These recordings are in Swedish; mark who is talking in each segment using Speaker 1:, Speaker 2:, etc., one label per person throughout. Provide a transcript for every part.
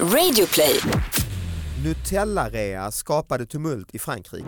Speaker 1: Radioplay.
Speaker 2: Nutella-rea skapade tumult i Frankrike.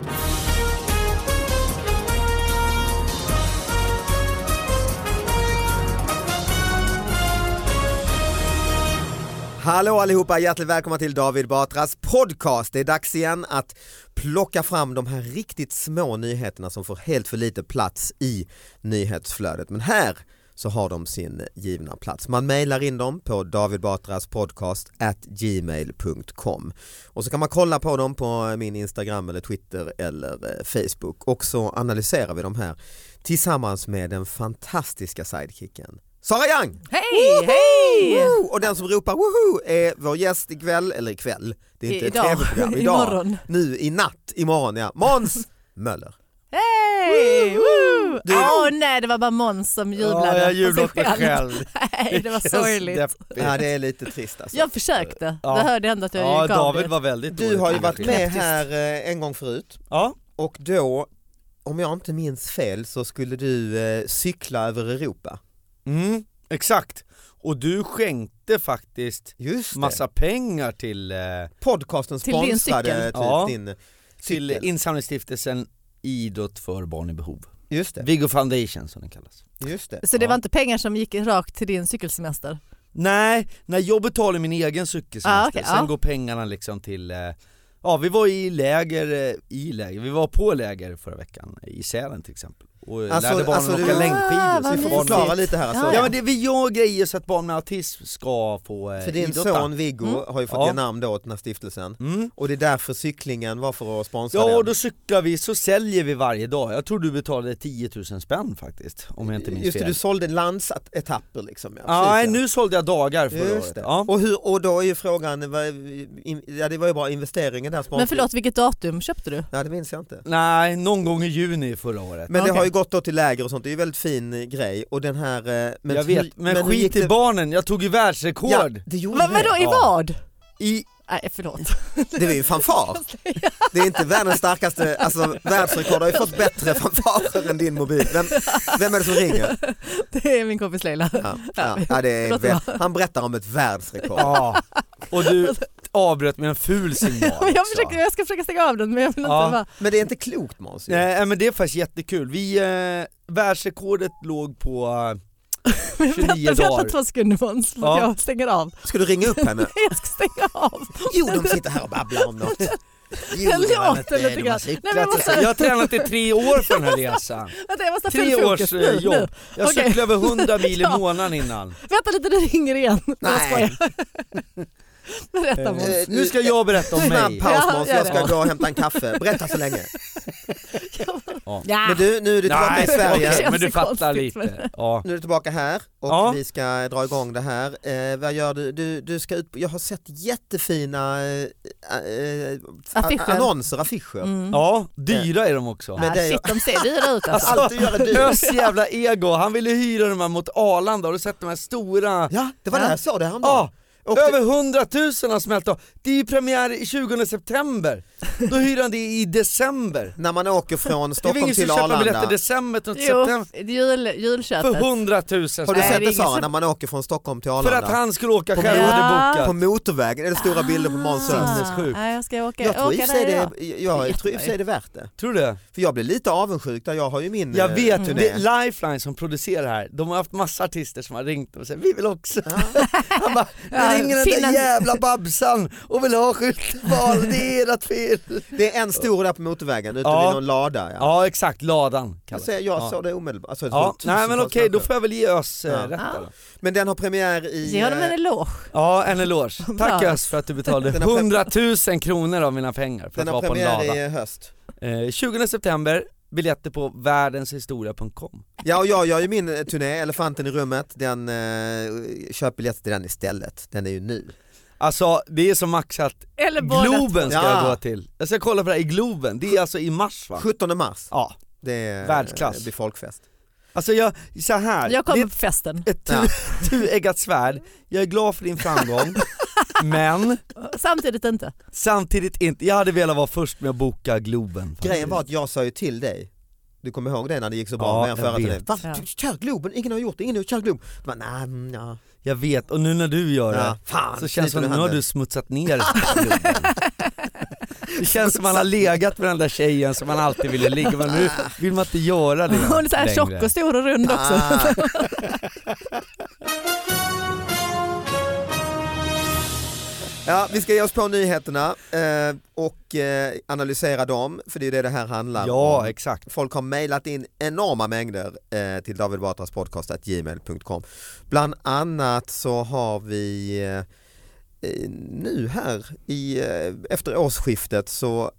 Speaker 2: Hallå allihopa, hjärtligt välkomna till David Batras podcast. Det är dags igen att plocka fram de här riktigt små nyheterna som får helt för lite plats i nyhetsflödet. Men här så har de sin givna plats. Man mejlar in dem på davidbatraspodcast@gmail.com och så kan man kolla på dem på min Instagram eller Twitter eller eh, Facebook och så analyserar vi de här tillsammans med den fantastiska sidekicken Sara Young!
Speaker 3: Hej, hej!
Speaker 2: Woo! Och den som ropar woho är vår gäst ikväll, eller ikväll, det är inte ett
Speaker 3: Idag.
Speaker 2: tv-program, idag,
Speaker 3: Imorgon.
Speaker 2: nu i natt, imorgon ja, Måns Möller.
Speaker 3: Hej! Woo!
Speaker 2: Du-
Speaker 3: Åh nej, det var bara Måns som jublade.
Speaker 4: Ja, jag
Speaker 3: för sig
Speaker 4: jublade åt mig själv.
Speaker 3: Nej, det var
Speaker 4: känns
Speaker 3: sorgligt.
Speaker 4: deppigt.
Speaker 2: Ja det är lite trist alltså.
Speaker 3: Jag försökte.
Speaker 4: Ja.
Speaker 3: Det hörde ändå att jag
Speaker 4: Ja,
Speaker 3: gav
Speaker 4: David
Speaker 3: det.
Speaker 4: var väldigt
Speaker 2: Du
Speaker 4: dålig
Speaker 2: har ju
Speaker 4: på
Speaker 2: varit
Speaker 4: det.
Speaker 2: med här eh, en gång förut
Speaker 4: Ja,
Speaker 2: och då, om jag inte minns fel, så skulle du eh, cykla över Europa.
Speaker 4: mm, exakt. Och du skänkte faktiskt
Speaker 2: Just det.
Speaker 4: massa pengar till, eh,
Speaker 2: Podcasten
Speaker 3: Till din
Speaker 2: sponsrade
Speaker 3: cykel.
Speaker 2: typ
Speaker 4: Ja.
Speaker 2: din
Speaker 4: till
Speaker 2: cykel.
Speaker 4: insamlingsstiftelsen Idrott för barn i behov.
Speaker 2: Just det,
Speaker 4: Viggo Foundation som den kallas.
Speaker 2: just det.
Speaker 3: Så det
Speaker 4: Ja.
Speaker 3: var inte pengar som gick rakt till din cykelsemester?
Speaker 4: Nej, när jag betalar min egen cykelsemester,
Speaker 3: Ah, okej,
Speaker 4: sen
Speaker 3: ja.
Speaker 4: går pengarna liksom till eh, Ja vi var i läger, eh, i läger, vi var på läger förra veckan i Sälen till exempel och eh,
Speaker 2: Alltså-
Speaker 4: lärde barnen
Speaker 2: alltså,
Speaker 4: åka
Speaker 2: du-
Speaker 4: längdskidor.
Speaker 3: Ah,
Speaker 4: så
Speaker 2: Vi
Speaker 3: vad
Speaker 4: fick
Speaker 2: får
Speaker 4: barnen-
Speaker 3: mysigt.
Speaker 2: förklara lite här alltså.
Speaker 3: Ja,
Speaker 4: Ja men det, vi gör grejer så att barn med autism ska få eh,
Speaker 2: För din
Speaker 4: idrotta.
Speaker 2: son Viggo
Speaker 3: Mm.
Speaker 2: har ju fått
Speaker 4: Ja.
Speaker 2: ge namn då åt den här stiftelsen
Speaker 4: Mm.
Speaker 2: och det är därför cyklingen var för att sponsra
Speaker 4: Ja och
Speaker 2: den.
Speaker 4: då cyklar vi, så säljer vi varje dag. Jag tror du betalade 10 000 spänn faktiskt, om jag inte minns
Speaker 2: Just det,
Speaker 4: fel.
Speaker 2: du sålde landsetapper liksom. Ja,
Speaker 4: Nej
Speaker 2: precis, ja.
Speaker 4: nu sålde jag dagar förra
Speaker 2: Just
Speaker 4: året.
Speaker 2: det.
Speaker 4: Ja.
Speaker 2: Och, hur, och då är ju frågan, vad- in- ja, det var ju bara investeringen där sponsringen.
Speaker 3: Men förlåt, vilket datum köpte du?
Speaker 2: Ja det minns jag inte.
Speaker 4: Nej, någon gång i juni förra året.
Speaker 2: Men det
Speaker 3: Okej.
Speaker 2: har ju gått då till läger och sånt, det är ju väldigt fin eh, grej och den här... eh, Men
Speaker 4: jag
Speaker 2: hur-
Speaker 4: vet, men,
Speaker 2: hur gick
Speaker 4: skit i
Speaker 2: det-
Speaker 4: barnen, jag tog ju
Speaker 2: Ja,
Speaker 4: världsrekord!
Speaker 2: det gjorde
Speaker 3: Va, vadå, i
Speaker 4: Ja.
Speaker 3: vad?
Speaker 4: I,
Speaker 3: Nej, förlåt.
Speaker 2: det. Det var ju en fanfar. Det är inte världens starkaste, alltså världsrekord har ju fått bättre fanfarer än din mobil. Vem, vem är det som ringer?
Speaker 3: Det är min kompis Leila.
Speaker 2: Ja, ja, ja, det är,
Speaker 3: Förlåt,
Speaker 2: vä- han berättar om ett världsrekord.
Speaker 4: ja. Och du avbröt med en ful signal
Speaker 3: Men jag,
Speaker 4: också.
Speaker 3: försöker, jag ska försöka stänga av den men jag vill inte
Speaker 4: Ja.
Speaker 3: bara...
Speaker 2: Men det är inte klokt Måns. ju.
Speaker 4: Nej men det är faktiskt jättekul, vi, eh, världsrekordet låg på eh, 29
Speaker 3: Vänta, vänta
Speaker 4: dagar.
Speaker 3: två sekunder Måns, för
Speaker 4: Ja.
Speaker 3: jag stänger av.
Speaker 2: Ska du ringa upp henne?
Speaker 3: Jag ska stänga av.
Speaker 2: Jo de sitter här och babblar om något. Jo,
Speaker 3: Det
Speaker 2: det var
Speaker 3: låter
Speaker 2: något, eh,
Speaker 3: lite
Speaker 2: de har
Speaker 3: grann. Nej,
Speaker 2: cyklat
Speaker 3: men jag
Speaker 2: och
Speaker 3: måste-
Speaker 2: så.
Speaker 4: Jag har tränat i tre år för den här resan.
Speaker 3: Vänta, jag måste ha
Speaker 4: Tre
Speaker 3: full
Speaker 4: års
Speaker 3: fokus
Speaker 4: eh,
Speaker 3: nu. nu.
Speaker 4: jobb. Jag
Speaker 3: Okej.
Speaker 4: cyklade över 100 mil i
Speaker 3: Ja.
Speaker 4: månaden innan.
Speaker 3: Vänta lite, det ringer igen. Nej. Jag
Speaker 2: Nej.
Speaker 3: skojar. Berätta Måns.
Speaker 2: Eh,
Speaker 4: Nu ska jag berätta om
Speaker 2: Snabb
Speaker 4: mig.
Speaker 2: paus
Speaker 3: Ja,
Speaker 2: Måns,
Speaker 3: gör
Speaker 2: jag
Speaker 3: det.
Speaker 2: ska gå och hämta en kaffe. Berätta så länge.
Speaker 3: Ja.
Speaker 2: Men du, nu är du tillbaka i Sverige.
Speaker 3: Ah. okej.
Speaker 4: men du
Speaker 3: Känns
Speaker 4: fattar
Speaker 3: konstigt,
Speaker 4: lite. Ja.
Speaker 2: Nu är du tillbaka här och
Speaker 4: Ja.
Speaker 2: vi ska dra igång det här. Eh, vad gör du? Du, du ska ut, jag har sett jättefina eh, eh, a-
Speaker 3: Affischer.
Speaker 2: annonser, affischer.
Speaker 3: Mm.
Speaker 4: ja, dyra är de också.
Speaker 2: Men
Speaker 3: ah,
Speaker 2: det-
Speaker 3: shit, de ser dyra ut alltså.
Speaker 2: Alltså, alltid gör det dyrt.
Speaker 4: Ös jävla ego, han ville hyra de här mot Arlanda, har du sett de här stora?
Speaker 2: Ja, det var där jag såg det häromdagen.
Speaker 4: Ja,
Speaker 2: Och
Speaker 4: över 100 000 har smält av. Det är ju premiär i 20 september, då hyr han det i december.
Speaker 2: när man åker från
Speaker 4: Det är väl
Speaker 2: Stockholm
Speaker 4: ingen som
Speaker 2: till
Speaker 4: köper biljetter
Speaker 2: Arlanda.
Speaker 4: i december
Speaker 2: Alltså,
Speaker 4: till
Speaker 3: Jo,
Speaker 4: september
Speaker 3: jul,
Speaker 4: för
Speaker 3: julköpet.
Speaker 4: 100 000
Speaker 2: Har du
Speaker 3: Nej,
Speaker 2: sett
Speaker 3: det är
Speaker 2: det
Speaker 3: ingen
Speaker 2: Sara,
Speaker 3: som-
Speaker 2: när man åker från Stockholm till
Speaker 4: För att
Speaker 2: Arlanda?
Speaker 4: han skulle åka själv
Speaker 3: Ja.
Speaker 4: och hade bokat.
Speaker 2: På motorvägen är det stora bilder på Måns Zelmerlöw.
Speaker 4: Sinnessjukt.
Speaker 3: Nej, Ah. jag ska åka,
Speaker 2: Jag tror i och
Speaker 3: åka
Speaker 2: för sig
Speaker 3: där
Speaker 2: det
Speaker 3: idag.
Speaker 2: är, jag, tror i och för sig det är värt det.
Speaker 4: Tror du det? Mm.
Speaker 2: För jag blir lite avundsjuk där jag har ju min
Speaker 4: Jag
Speaker 2: eh,
Speaker 4: vet,
Speaker 2: turné.
Speaker 4: det är Lifeline som producerar det här, de har haft massa artister som har ringt och sagt vi vill också. Han bara,
Speaker 3: Ja,
Speaker 4: det ringer den där
Speaker 3: finnen."
Speaker 4: jävla Babsan och vill ha skyltval, det är ert fel.
Speaker 2: Det är en stor där på motorvägen ute
Speaker 4: Ja.
Speaker 2: vid någon lada. Ja.
Speaker 4: Ja exakt, ladan
Speaker 2: Jag,
Speaker 4: kallas
Speaker 2: ser, jag
Speaker 4: ja.
Speaker 2: såg det omedelbart. Alltså, jag
Speaker 4: Ja,
Speaker 2: såg
Speaker 4: nej men
Speaker 2: tusentals
Speaker 4: okej då
Speaker 2: människor.
Speaker 4: får jag väl ge Ös eh,
Speaker 2: Ja.
Speaker 4: rätt
Speaker 3: Ja.
Speaker 4: då.
Speaker 2: Men den har premiär i...
Speaker 3: Ge honom en
Speaker 2: eh,
Speaker 3: eloge.
Speaker 4: Ja en eloge. Tack
Speaker 3: Bra.
Speaker 4: Ös för att du betalade
Speaker 2: Den har pre-
Speaker 4: 100 000 kronor av mina pengar för
Speaker 2: Den
Speaker 4: att
Speaker 2: har
Speaker 4: vara på en
Speaker 2: premiär
Speaker 4: lada.
Speaker 2: i höst.
Speaker 4: Eh, 20 september, biljetter på världenshistoria.com.
Speaker 2: Ja och jag gör ju min eh, turné, Elefanten i rummet, den, eh, köp biljetter till den istället. Den är ju ny.
Speaker 4: Alltså det är så maxat,
Speaker 3: Eller bollet.
Speaker 4: Globen ska jag
Speaker 2: Ja.
Speaker 4: gå till. Jag ska kolla på det här i Globen, det är alltså i mars va?
Speaker 2: 17 mars,
Speaker 4: Ja.
Speaker 2: det är,
Speaker 4: Världsklass.
Speaker 2: det blir folkfest.
Speaker 4: Alltså jag, så här.
Speaker 3: Jag
Speaker 4: det
Speaker 3: kommer
Speaker 4: är
Speaker 3: på festen.
Speaker 4: ett
Speaker 2: Ja.
Speaker 4: tu- tueggat svärd, jag är glad för din framgång, men
Speaker 3: Samtidigt inte.
Speaker 4: samtidigt inte, jag hade velat vara först med att boka Globen. faktiskt.
Speaker 2: Grejen var att jag sa ju till dig, du kommer ihåg det när det gick så bra
Speaker 4: Ja,
Speaker 2: med den förra
Speaker 4: jag
Speaker 2: turnén?
Speaker 4: vet.
Speaker 2: Va?
Speaker 3: Ja.
Speaker 2: Kör Globen, ingen har gjort det, ingen har kört Globen. Du bara, nej, mm, ja.
Speaker 4: jag vet, och nu när du gör det
Speaker 2: Ja, fan,
Speaker 4: så
Speaker 2: knyter
Speaker 4: känns det som
Speaker 2: du
Speaker 4: nu har
Speaker 2: handen?
Speaker 4: du smutsat ner klubben. Det känns som man har legat med den där tjejen som man alltid ville ligga med, nu vill man inte göra det
Speaker 3: Hon är så här tjock och stor och rund också.
Speaker 2: Ah. Ja, vi ska ge oss på nyheterna eh, och eh, analysera dem, för det är det det här handlar om.
Speaker 4: Ja exakt.
Speaker 2: Folk har mejlat in enorma mängder eh, till David Batras podcast at gmail.com. Bland annat så har vi eh, eh, nu här i, eh, efter årsskiftet så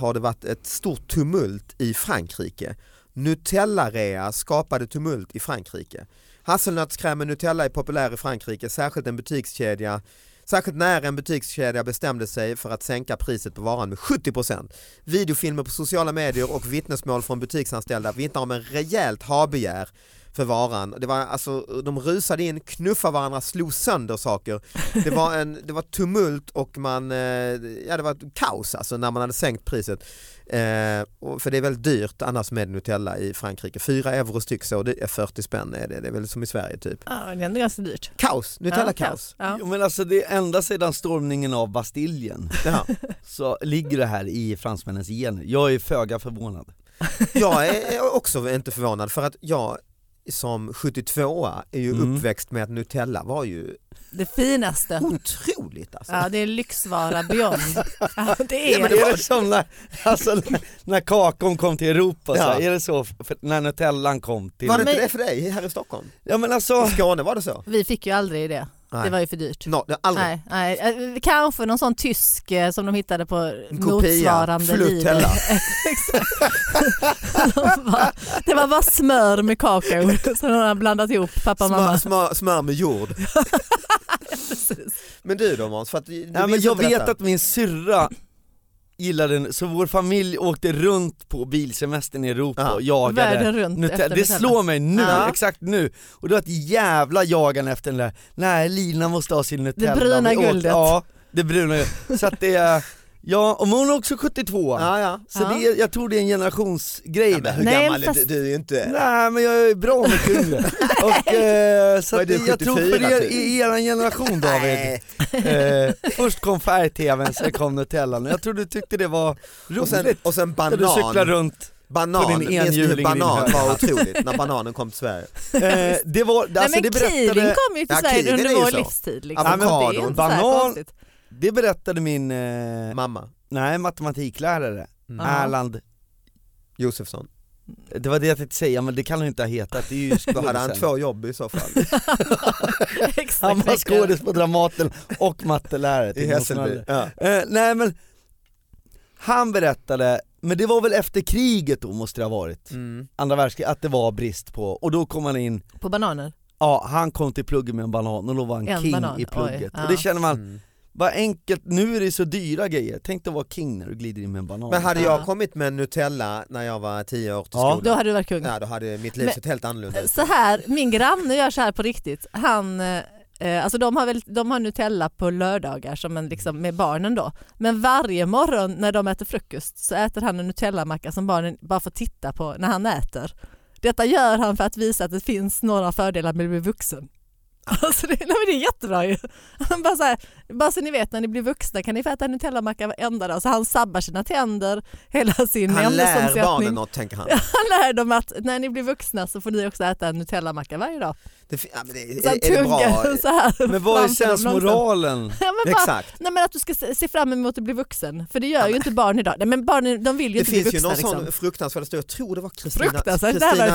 Speaker 2: har det varit ett stort tumult i Frankrike. Nutella-rea skapade tumult i Frankrike. Hasselnötskräm med Nutella är populär i Frankrike, särskilt en butikskedja Särskilt när en butikskedja bestämde sig för att sänka priset på varan med 70%. Videofilmer på sociala medier och vittnesmål från butiksanställda vittnar om en rejält habegär för varan. Det var alltså, de rusade in, knuffade varandra, slog sönder saker. Det var, en, det var tumult och man, eh, ja det var ett kaos alltså när man hade sänkt priset. Eh, och för det är väldigt dyrt annars med Nutella i Frankrike. 4 euro styck så, det är 40 spänn är det. Det är väl som i Sverige typ.
Speaker 3: Ja, det är ändå ganska dyrt.
Speaker 2: Kaos, Nutella-kaos.
Speaker 3: Ja.
Speaker 4: Jo, men alltså det är ända sedan stormningen av Bastiljen
Speaker 2: Ja.
Speaker 4: så ligger det här i fransmännens gener. Jag är föga förvånad.
Speaker 2: Jag är också inte förvånad för att jag som 72a är ju
Speaker 4: Mm.
Speaker 2: uppväxt med att Nutella var ju
Speaker 3: Det finaste.
Speaker 2: otroligt alltså.
Speaker 3: Ja, det är lyxvara beyond. Ja, det
Speaker 2: Ja,
Speaker 3: är
Speaker 2: men
Speaker 4: är det som när, alltså, när- när kakon kom till Europa, så,
Speaker 2: Ja.
Speaker 4: är det så för, när Nutellan kom till...
Speaker 2: Var det
Speaker 3: Men-
Speaker 2: inte det för dig här i Stockholm?
Speaker 4: Ja men
Speaker 2: I
Speaker 4: alltså,
Speaker 2: Skåne var det så?
Speaker 3: Vi fick ju aldrig det. Det
Speaker 2: Nej,
Speaker 3: var ju för dyrt.
Speaker 2: no, det aldrig.
Speaker 3: Nej, nej. Eh, Kanske någon sån tysk eh, som de hittade på
Speaker 2: En kopia,
Speaker 3: motsvarande liv. eh,
Speaker 2: Flutella.
Speaker 3: De bara- det var bara smör med kakao som de hade blandat ihop pappa och
Speaker 2: Smör,
Speaker 3: mamma.
Speaker 2: smör, smör med jord. men du då Måns? för att du
Speaker 4: ja, men
Speaker 2: minns
Speaker 4: jag
Speaker 2: inte
Speaker 4: vet
Speaker 2: detta.
Speaker 4: att min syrra gillade den, så vår familj åkte runt på bilsemestern i Europa
Speaker 2: Ja.
Speaker 4: och jagade
Speaker 3: Världen runt
Speaker 4: Nutella.
Speaker 3: efter
Speaker 4: Det
Speaker 3: Nutella.
Speaker 4: slår mig nu,
Speaker 2: Ja.
Speaker 4: exakt nu. Och det var ett jävla jagande efter den där, nej Lina måste ha sin Nutella.
Speaker 3: bruna
Speaker 4: Vi åt-
Speaker 3: guldet.
Speaker 4: Ja, det bruna guldet. Så att det är, ja, och hon är också 72.
Speaker 2: Ja, ja.
Speaker 4: Så
Speaker 3: Ja.
Speaker 4: det är, jag tror det är en generationsgrej
Speaker 2: Ja, men
Speaker 4: där.
Speaker 2: hur
Speaker 3: Nej,
Speaker 2: gammal är
Speaker 3: fast-
Speaker 2: du? Du är ju inte...
Speaker 4: Nej men jag är bra mycket yngre. Och, eh, så
Speaker 2: Vad är
Speaker 4: att
Speaker 2: du,
Speaker 4: jag tror för
Speaker 2: 74
Speaker 4: er,
Speaker 2: typ?
Speaker 4: i er generation David,
Speaker 2: Nej.
Speaker 4: eh, först kom färg-tvn, sen kom Nutellan. Jag tror du tyckte det var
Speaker 2: Och
Speaker 4: roligt.
Speaker 2: sen, och sen
Speaker 4: när du cyklar
Speaker 2: banan.
Speaker 4: runt. på
Speaker 2: Banan, minns
Speaker 4: din
Speaker 2: du hur
Speaker 4: enhjuling i din
Speaker 2: banan
Speaker 4: högra
Speaker 2: var
Speaker 4: hand?
Speaker 2: otroligt när bananen kom till Sverige?
Speaker 4: Eh, det var, alltså,
Speaker 3: Nej, men
Speaker 4: det berättade,
Speaker 3: Kirin kom ju till
Speaker 2: Ja,
Speaker 3: Sverige
Speaker 2: Kirin är
Speaker 3: under
Speaker 2: ju
Speaker 3: vår
Speaker 2: så.
Speaker 3: livstid. Liksom.
Speaker 2: Avokadon,
Speaker 3: Det är inte så här
Speaker 4: banan.
Speaker 3: konstigt.
Speaker 4: det berättade min, eh,
Speaker 2: Mamma
Speaker 4: nej matematiklärare,
Speaker 2: Mm.
Speaker 3: Ja.
Speaker 4: Erland,
Speaker 2: Josefsson.
Speaker 4: det var det jag tänkte säga men det kan han ju inte ha hetat, det är ju
Speaker 2: Då hade han
Speaker 4: sen.
Speaker 2: två jobb i så fall.
Speaker 3: Exakt.
Speaker 4: Han var skådis på Dramaten och mattelärare till
Speaker 2: I
Speaker 4: min
Speaker 2: Hässelby.
Speaker 4: förälder.
Speaker 2: Ja.
Speaker 4: Eh, nej men, han berättade, men det var väl efter kriget då måste det ha varit,
Speaker 2: Mm.
Speaker 4: andra världskriget, att det var brist på, och då kom han in,
Speaker 3: På bananer.
Speaker 4: ja han kom till pluggen med en banan och då var han
Speaker 3: En
Speaker 4: king
Speaker 3: banan,
Speaker 4: i plugget.
Speaker 3: oj,
Speaker 4: Och det
Speaker 3: ja.
Speaker 4: känner man,
Speaker 2: Mm.
Speaker 4: vad enkelt, nu är det så dyra grejer, tänk dig att vara king när du glider in med en banan.
Speaker 2: Men hade
Speaker 3: Ja.
Speaker 2: jag kommit med Nutella när jag var tio år till
Speaker 4: Ja.
Speaker 2: skolan,
Speaker 3: Då hade du varit kung.
Speaker 2: ja, då hade mitt liv
Speaker 3: Men-
Speaker 2: sett helt annorlunda ut.
Speaker 3: Så här, min granne gör så här på riktigt. Han, eh, alltså de, har väl, de har Nutella på lördagar som en, liksom, med barnen då. Men varje morgon när de äter frukost så äter han en Nutella-macka som barnen bara får titta på när han äter. Detta gör han för att visa att det finns några fördelar med att bli vuxen. Alltså det, nej men det är jättebra ju. Han bara, så här, bara så ni vet när ni blir vuxna kan ni få äta en Nutella-macka varenda dag. Så han sabbar sina tänder, hela sin
Speaker 2: Han lär
Speaker 3: ämnesomsättning.
Speaker 2: barnen något tänker han.
Speaker 3: Han lär dem att när ni blir vuxna så får ni också äta en Nutella-macka varje dag.
Speaker 2: Det, fi- ja, men det,
Speaker 3: Så att
Speaker 2: är, är det bra?
Speaker 3: tungan så här.
Speaker 4: men vad är
Speaker 3: framför dem långsamt.
Speaker 4: sensmoralen?
Speaker 3: Ja, men bara,
Speaker 2: Exakt.
Speaker 3: nej men att du ska se se fram emot att bli vuxen, för det gör
Speaker 2: Ja,
Speaker 3: ju
Speaker 2: men-
Speaker 3: inte barn idag. Nej, men barnen de vill ju
Speaker 2: Det
Speaker 3: inte bli
Speaker 2: finns ju
Speaker 3: vuxna.
Speaker 2: någon
Speaker 3: Liksom.
Speaker 2: sån fruktansvärd historia, jag tror det var Kristina.
Speaker 3: Fruktansvärt, det här var en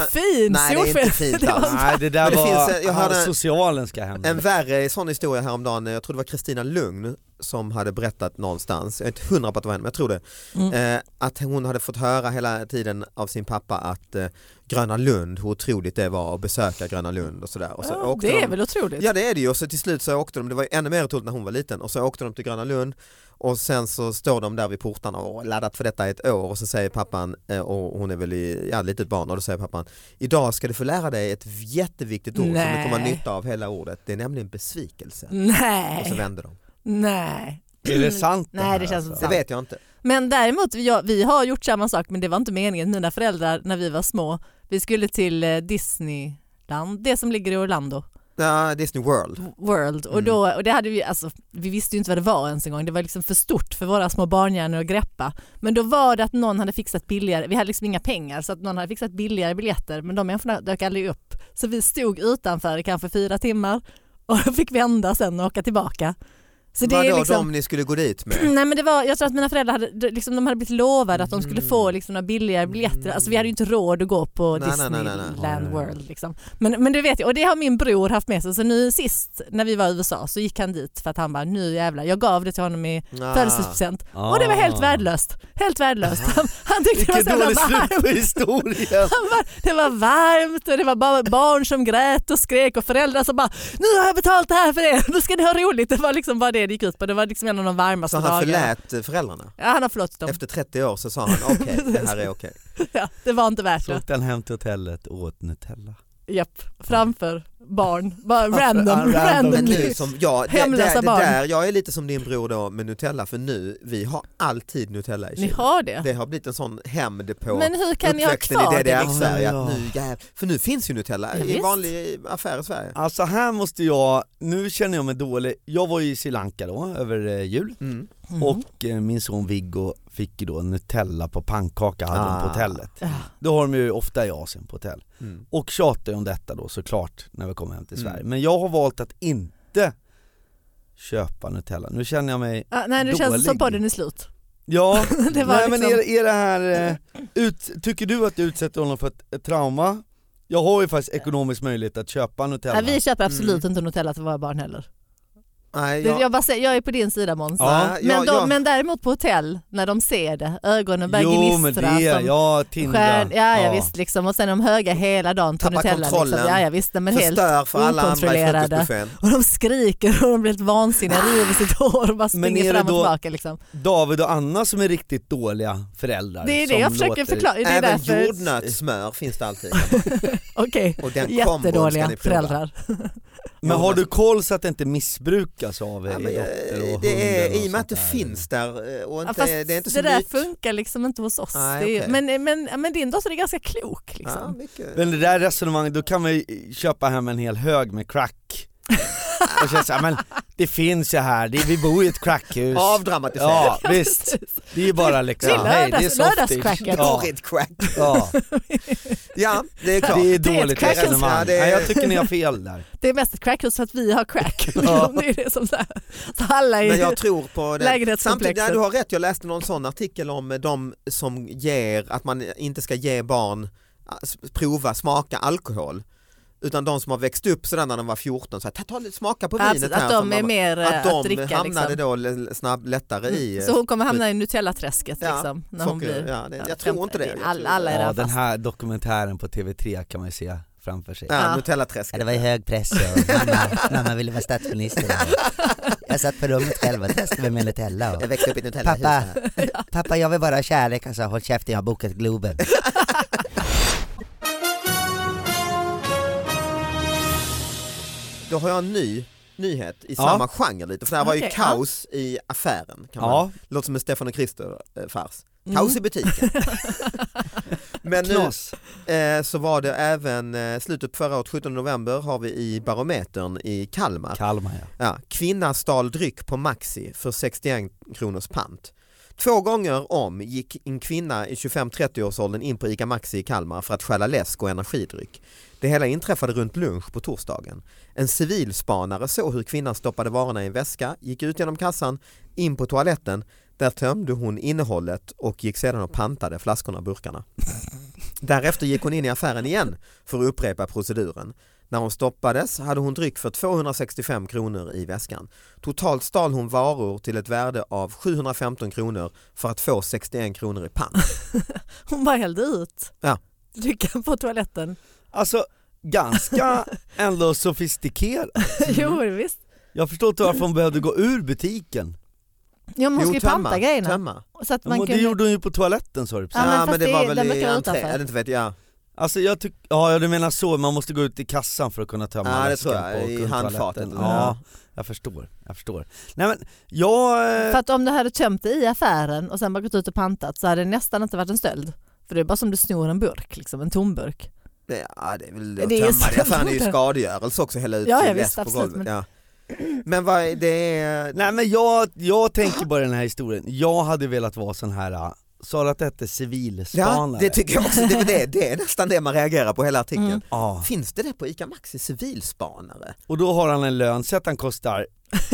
Speaker 2: Nej,
Speaker 3: fin
Speaker 2: det är inte
Speaker 3: solsken.
Speaker 2: fint
Speaker 3: Alltså, Det var
Speaker 2: alls.
Speaker 3: en-
Speaker 4: Nej det där
Speaker 2: Men det
Speaker 4: var,
Speaker 2: finns, eh, jag
Speaker 4: han-
Speaker 2: hörde-
Speaker 4: socialen ska hem.
Speaker 2: En värre sån historia häromdagen, jag tror det var Kristina Lugn som hade berättat någonstans, jag är inte hundra på att det var henne men jag tror det,
Speaker 3: Mm.
Speaker 2: eh, att hon hade fått höra hela tiden av sin pappa att eh, Gröna Lund, hur otroligt det var att besöka Gröna Lund och sådär. Och så
Speaker 3: Ja,
Speaker 2: åkte
Speaker 3: det
Speaker 2: de-
Speaker 3: är väl otroligt?
Speaker 2: Ja det är det ju och så till slut så åkte de, det var ju ännu mer otroligt när hon var liten och så åkte de till Gröna Lund och sen så står de där vid portarna och har laddat för detta i ett år och så säger pappan, eh, och hon är väl i, ja, ett litet barn och då säger pappan idag ska du få lära dig ett jätteviktigt ord som du
Speaker 3: Nej.
Speaker 2: kommer ha nytta av hela ordet, det är nämligen besvikelse. Och så
Speaker 3: Nej,
Speaker 2: vänder de.
Speaker 3: nej.
Speaker 4: är det sant
Speaker 3: Nej, det känns
Speaker 2: Det
Speaker 3: sant.
Speaker 2: vet jag inte.
Speaker 3: Men däremot, jag, vi har gjort samma sak men det var inte meningen. Mina föräldrar när vi var små, vi skulle till eh, Disneyland, det som ligger i Orlando.
Speaker 2: öppna Disney World.
Speaker 3: World
Speaker 2: Mm.
Speaker 3: och, då, och det hade vi, alltså, vi visste ju inte vad det var ens en gång, det var liksom för stort för våra små barnhjärnor att greppa. Men då var det att någon hade fixat billigare, vi hade liksom inga pengar så att någon hade fixat billigare biljetter men de människorna dök aldrig upp. Så vi stod utanför i kanske fyra timmar och fick vända sen och åka tillbaka. Så det
Speaker 2: Vadå
Speaker 3: är liksom,
Speaker 2: de ni skulle gå dit med?
Speaker 3: Nej men det var, jag tror att mina föräldrar hade, de- liksom, de hade blivit lovade att de skulle få liksom, några billigare biljetter. Alltså vi hade ju inte råd att gå på
Speaker 2: Mm. Nej, nej, nej, nej, nej.
Speaker 3: Disneyland World. Liksom. Men, men du vet ju, och det har min bror haft med sig. Så nu sist när vi var i USA så gick han dit för att han bara nu jävlar, jag gav det till honom i
Speaker 2: Ah.
Speaker 3: födelsedagspresent. Och det var helt värdelöst. Helt värdelöst. Han, han tyckte det
Speaker 4: Vilket
Speaker 3: var så jävla varmt.
Speaker 4: dåligt slut på historien.
Speaker 3: Han bara, det var varmt och det var bara barn som grät och skrek och föräldrar som bara nu har jag betalt det här för er, nu ska ni ha roligt. Det var liksom bara det det gick ut på. Det var liksom en av de varmaste
Speaker 2: Så han
Speaker 3: dagarna.
Speaker 2: förlät eh, föräldrarna?
Speaker 3: Ja, han har förlåtit dem.
Speaker 2: Efter 30 år så sa han okej, det här är okej.
Speaker 3: Ja, det var inte värt
Speaker 4: Så
Speaker 3: det.
Speaker 4: åkte han hem till hotellet och åt Nutella.
Speaker 3: Japp. Framför barn. Bara random.
Speaker 4: random.
Speaker 2: Men
Speaker 3: randomly.
Speaker 2: nu som, ja, det, det,
Speaker 3: Hemlösa
Speaker 2: det
Speaker 3: barn.
Speaker 2: där, jag är lite som din bror då med Nutella för nu, vi har alltid Nutella i
Speaker 3: Ni
Speaker 2: Kina.
Speaker 3: har det.
Speaker 2: Det har blivit en sån hämnd på
Speaker 3: Men hur kan ni ha
Speaker 2: uppväxten i
Speaker 3: kvar det?
Speaker 4: liksom?
Speaker 2: DDR-Sverige.
Speaker 4: Ja,
Speaker 2: att
Speaker 4: ja.
Speaker 2: nu, jäv- för nu finns ju Nutella
Speaker 3: Ja,
Speaker 2: i
Speaker 3: visst.
Speaker 2: vanlig affär i Sverige.
Speaker 4: Alltså här måste jag, nu känner jag mig dålig. Jag var i Sri Lanka då över eh, jul
Speaker 2: Mm.
Speaker 3: Mm.
Speaker 4: och eh, min son Viggo fick ju då Nutella på pannkaka hade de
Speaker 2: Ah.
Speaker 4: på hotellet.
Speaker 3: Ja.
Speaker 4: Det har de ju ofta i Asien på hotell.
Speaker 2: Mm.
Speaker 4: Och tjatar ju om detta då såklart när vi kommer hem till
Speaker 2: Mm.
Speaker 4: Sverige. Men jag har valt att inte köpa Nutella. Nu känner jag mig,
Speaker 3: Ah, nej, nu känns det som
Speaker 4: Dålig.
Speaker 3: podden är slut.
Speaker 4: ja,
Speaker 3: Det var
Speaker 4: nej men
Speaker 3: liksom-
Speaker 4: är, är det här, eh, ut, tycker du att du utsätter honom för ett, ett trauma? Jag har ju faktiskt ekonomisk möjlighet att köpa Nutella.
Speaker 3: Nej, vi köper absolut
Speaker 2: Mm.
Speaker 3: inte Nutella till våra barn heller.
Speaker 2: Nej,
Speaker 3: Det-
Speaker 2: jag,
Speaker 3: Jag, bara säger, jag är på din sida Måns.
Speaker 4: Ja,
Speaker 2: nej,
Speaker 3: Men,
Speaker 2: jag,
Speaker 3: de,
Speaker 2: jag,
Speaker 3: men däremot på hotell, när de ser det, ögonen börjar
Speaker 4: jo men
Speaker 3: gnistra.
Speaker 4: det,
Speaker 3: som
Speaker 4: ja Tindra.
Speaker 3: stjärn- ja, ja, visst, liksom. Och sen de höga hela dagen på
Speaker 2: Tappar
Speaker 3: Nutella. Liksom.
Speaker 2: kontrollen.
Speaker 3: Ja, ja, visst, nej, men helt.
Speaker 2: förstör för alla andra i
Speaker 3: okontrollerade.
Speaker 2: frukostbuffén.
Speaker 3: Och de skriker och de blir helt
Speaker 2: Ah.
Speaker 3: vansinniga, river sitt hår och bara
Speaker 4: är
Speaker 3: springer
Speaker 4: det
Speaker 3: fram och
Speaker 4: då-
Speaker 3: tillbaka. Liksom.
Speaker 4: David och Anna som är riktigt dåliga föräldrar.
Speaker 3: Det är det
Speaker 4: som
Speaker 3: jag försöker
Speaker 4: låter-
Speaker 3: förklara. Det är
Speaker 2: Även
Speaker 3: därför...
Speaker 2: jordnötssmör finns det alltid.
Speaker 3: Okej,
Speaker 2: Och den kombon ska
Speaker 3: jättedåliga
Speaker 2: ni prova.
Speaker 3: föräldrar.
Speaker 4: Men har du koll så att det inte missbrukas av er
Speaker 2: Ja, men, eh,
Speaker 4: dotter och
Speaker 2: det är,
Speaker 4: hunden
Speaker 2: I och med att det
Speaker 4: sånt där?
Speaker 2: finns där eh, och
Speaker 3: Ja,
Speaker 2: inte,
Speaker 3: fast
Speaker 2: det är inte
Speaker 3: det
Speaker 2: så
Speaker 3: där
Speaker 2: nytt.
Speaker 3: funkar liksom inte hos oss.
Speaker 2: Nej,
Speaker 3: det är,
Speaker 2: okej.
Speaker 3: men, men, men din dotter är ganska klok. Liksom.
Speaker 2: Ja, mycket.
Speaker 4: Men det där resonemanget, då kan vi köpa hem en hel hög med crack. och känna så här, men det finns ju här, det, vi bor i ett crackhus.
Speaker 2: Avdramatiserat.
Speaker 4: Ja visst, det är ju bara liksom,
Speaker 3: Det är
Speaker 4: hej det är
Speaker 3: lördags-
Speaker 4: softish.
Speaker 3: lördagscracket.
Speaker 4: Ja,
Speaker 2: Drar ett crack.
Speaker 4: ja.
Speaker 2: Ja, det är klart.
Speaker 4: Det är
Speaker 3: Det är ett
Speaker 4: dåligt
Speaker 3: crack-
Speaker 4: resonemang.
Speaker 2: Ja, det är-
Speaker 4: Nej, jag tycker ni har fel där.
Speaker 3: Det är mest ett crackhus för att vi har crack.
Speaker 4: Ja.
Speaker 3: det är det som så, här. så alla är...
Speaker 2: Men jag tror på det.
Speaker 3: Lägenhetskomplexet.
Speaker 2: Samtidigt, nej, du har rätt, jag läste någon sån artikel om eh, de som ger, att man inte ska ge barn eh, s- prova, smaka alkohol. Utan de som har växt upp sådär när de var 14, så här, "Ta- ta lite smaka på
Speaker 3: Ja,
Speaker 2: vinet
Speaker 3: precis,
Speaker 2: här.
Speaker 3: Alltså, att
Speaker 2: som
Speaker 3: de
Speaker 2: man-
Speaker 3: är mer eh,
Speaker 2: att de
Speaker 3: att, dricka.
Speaker 2: hamnade
Speaker 3: Liksom.
Speaker 2: då l- snabb, lättare i eh,
Speaker 3: Så hon kommer hamna i Nutella-träsket
Speaker 2: Ja,
Speaker 3: liksom, när hon
Speaker 2: socker.
Speaker 3: blir...
Speaker 2: ja, det,
Speaker 3: ja,
Speaker 2: jag tror
Speaker 3: fem-
Speaker 2: inte det. Jag
Speaker 3: all-
Speaker 2: tror-
Speaker 3: alla är
Speaker 4: Ja,
Speaker 3: där
Speaker 4: den
Speaker 3: fast.
Speaker 4: här dokumentären på TV3 kan man ju se framför sig.
Speaker 2: Ja,
Speaker 3: Ja.
Speaker 2: Nutellaträsket.
Speaker 1: Ja, det var ju hög press och mamma, mamma ville vara statsminister. Jag satt på rummet själv och testade med Nutella. Och,
Speaker 2: Jag växte upp i ett Nutellahus.
Speaker 1: pappa,
Speaker 2: här.
Speaker 1: pappa jag vill bara ha kärlek. Han sa håll käften jag har bokat Globen.
Speaker 2: Då har jag en ny nyhet i
Speaker 4: Ja.
Speaker 2: samma genre lite, för det här var ju
Speaker 3: Okej, ja.
Speaker 2: kaos i affären. Kan man.
Speaker 4: Ja,
Speaker 2: Låter som en Stefan och Krister-fars.
Speaker 3: Mm.
Speaker 2: Kaos i butiken. Men nu
Speaker 4: knas.
Speaker 2: eh, så var det även eh, slutet på förra året, 17 november, har vi i Barometern i Kalmar.
Speaker 4: Kalmar ja.
Speaker 2: Ja, kvinna stal dryck på Maxi för 61 kronors pant. Två gånger om gick en kvinna i 25-30-årsåldern in på ICA Maxi i Kalmar för att stjäla läsk och energidryck. Det hela inträffade runt lunch på torsdagen. En civilspanare såg hur kvinnan stoppade varorna i en väska, gick ut genom kassan, in på toaletten. Där tömde hon innehållet och gick sedan och pantade flaskorna och burkarna. Därefter gick hon in i affären igen för att upprepa proceduren. När hon stoppades hade hon dryck för 265 kronor i väskan. Totalt stal hon varor till ett värde av 715 kronor för att få 61 kronor i pant.
Speaker 3: Hon bara hällde ut
Speaker 2: Ja.
Speaker 3: drycken på toaletten.
Speaker 4: Alltså ganska ändå sofistikerat.
Speaker 2: Mm.
Speaker 3: jo visst.
Speaker 4: Jag förstår inte varför hon behövde gå ur butiken.
Speaker 3: Ja, men hon ska ju panta grejerna.
Speaker 2: tömma.
Speaker 3: Så att man
Speaker 4: men det
Speaker 3: kunde...
Speaker 4: gjorde hon ju på toaletten sa du precis.
Speaker 3: Ja, men
Speaker 2: Ja,
Speaker 3: fast
Speaker 2: men det
Speaker 3: det-
Speaker 2: var väl
Speaker 3: den
Speaker 2: i
Speaker 3: brukar vara
Speaker 2: entré,
Speaker 3: utanför.
Speaker 2: eller inte vet jag.
Speaker 4: Alltså jag tycker, ja du menar så, man måste gå ut i kassan för att kunna tömma
Speaker 2: Ja, det
Speaker 4: väskan
Speaker 2: tror jag,
Speaker 4: på
Speaker 2: i
Speaker 4: kundtoaletten.
Speaker 2: handfatet.
Speaker 4: Ja, jag förstår, jag förstår. Nej men, jag... eh,
Speaker 3: För att om du hade tömt det i affären och sen bara gått ut och pantat så hade det nästan inte varit en stöld. För det är bara som du snor en burk, liksom, en tomburk.
Speaker 2: Det, ja, det är väl
Speaker 3: Det
Speaker 2: att
Speaker 3: är ju
Speaker 2: tömma det.
Speaker 3: sant.
Speaker 2: Fan, det är ju skadegörelse också, hälla ut
Speaker 3: Ja, ja,
Speaker 2: läsk
Speaker 3: visst,
Speaker 2: på
Speaker 3: absolut,
Speaker 2: golvet. Ja. Men vad är det?
Speaker 4: Nej men jag, jag tänker bara den här historien, jag hade velat vara sån här, äh, sa du att det hette
Speaker 2: Ja,
Speaker 4: civilspanare?
Speaker 2: det tycker jag också. Det, det, det är nästan det man reagerar på hela artikeln.
Speaker 3: Mm.
Speaker 4: Ja,
Speaker 2: Finns det det på ICA Maxi, civilspanare?
Speaker 4: och då har han en lön, säg att han kostar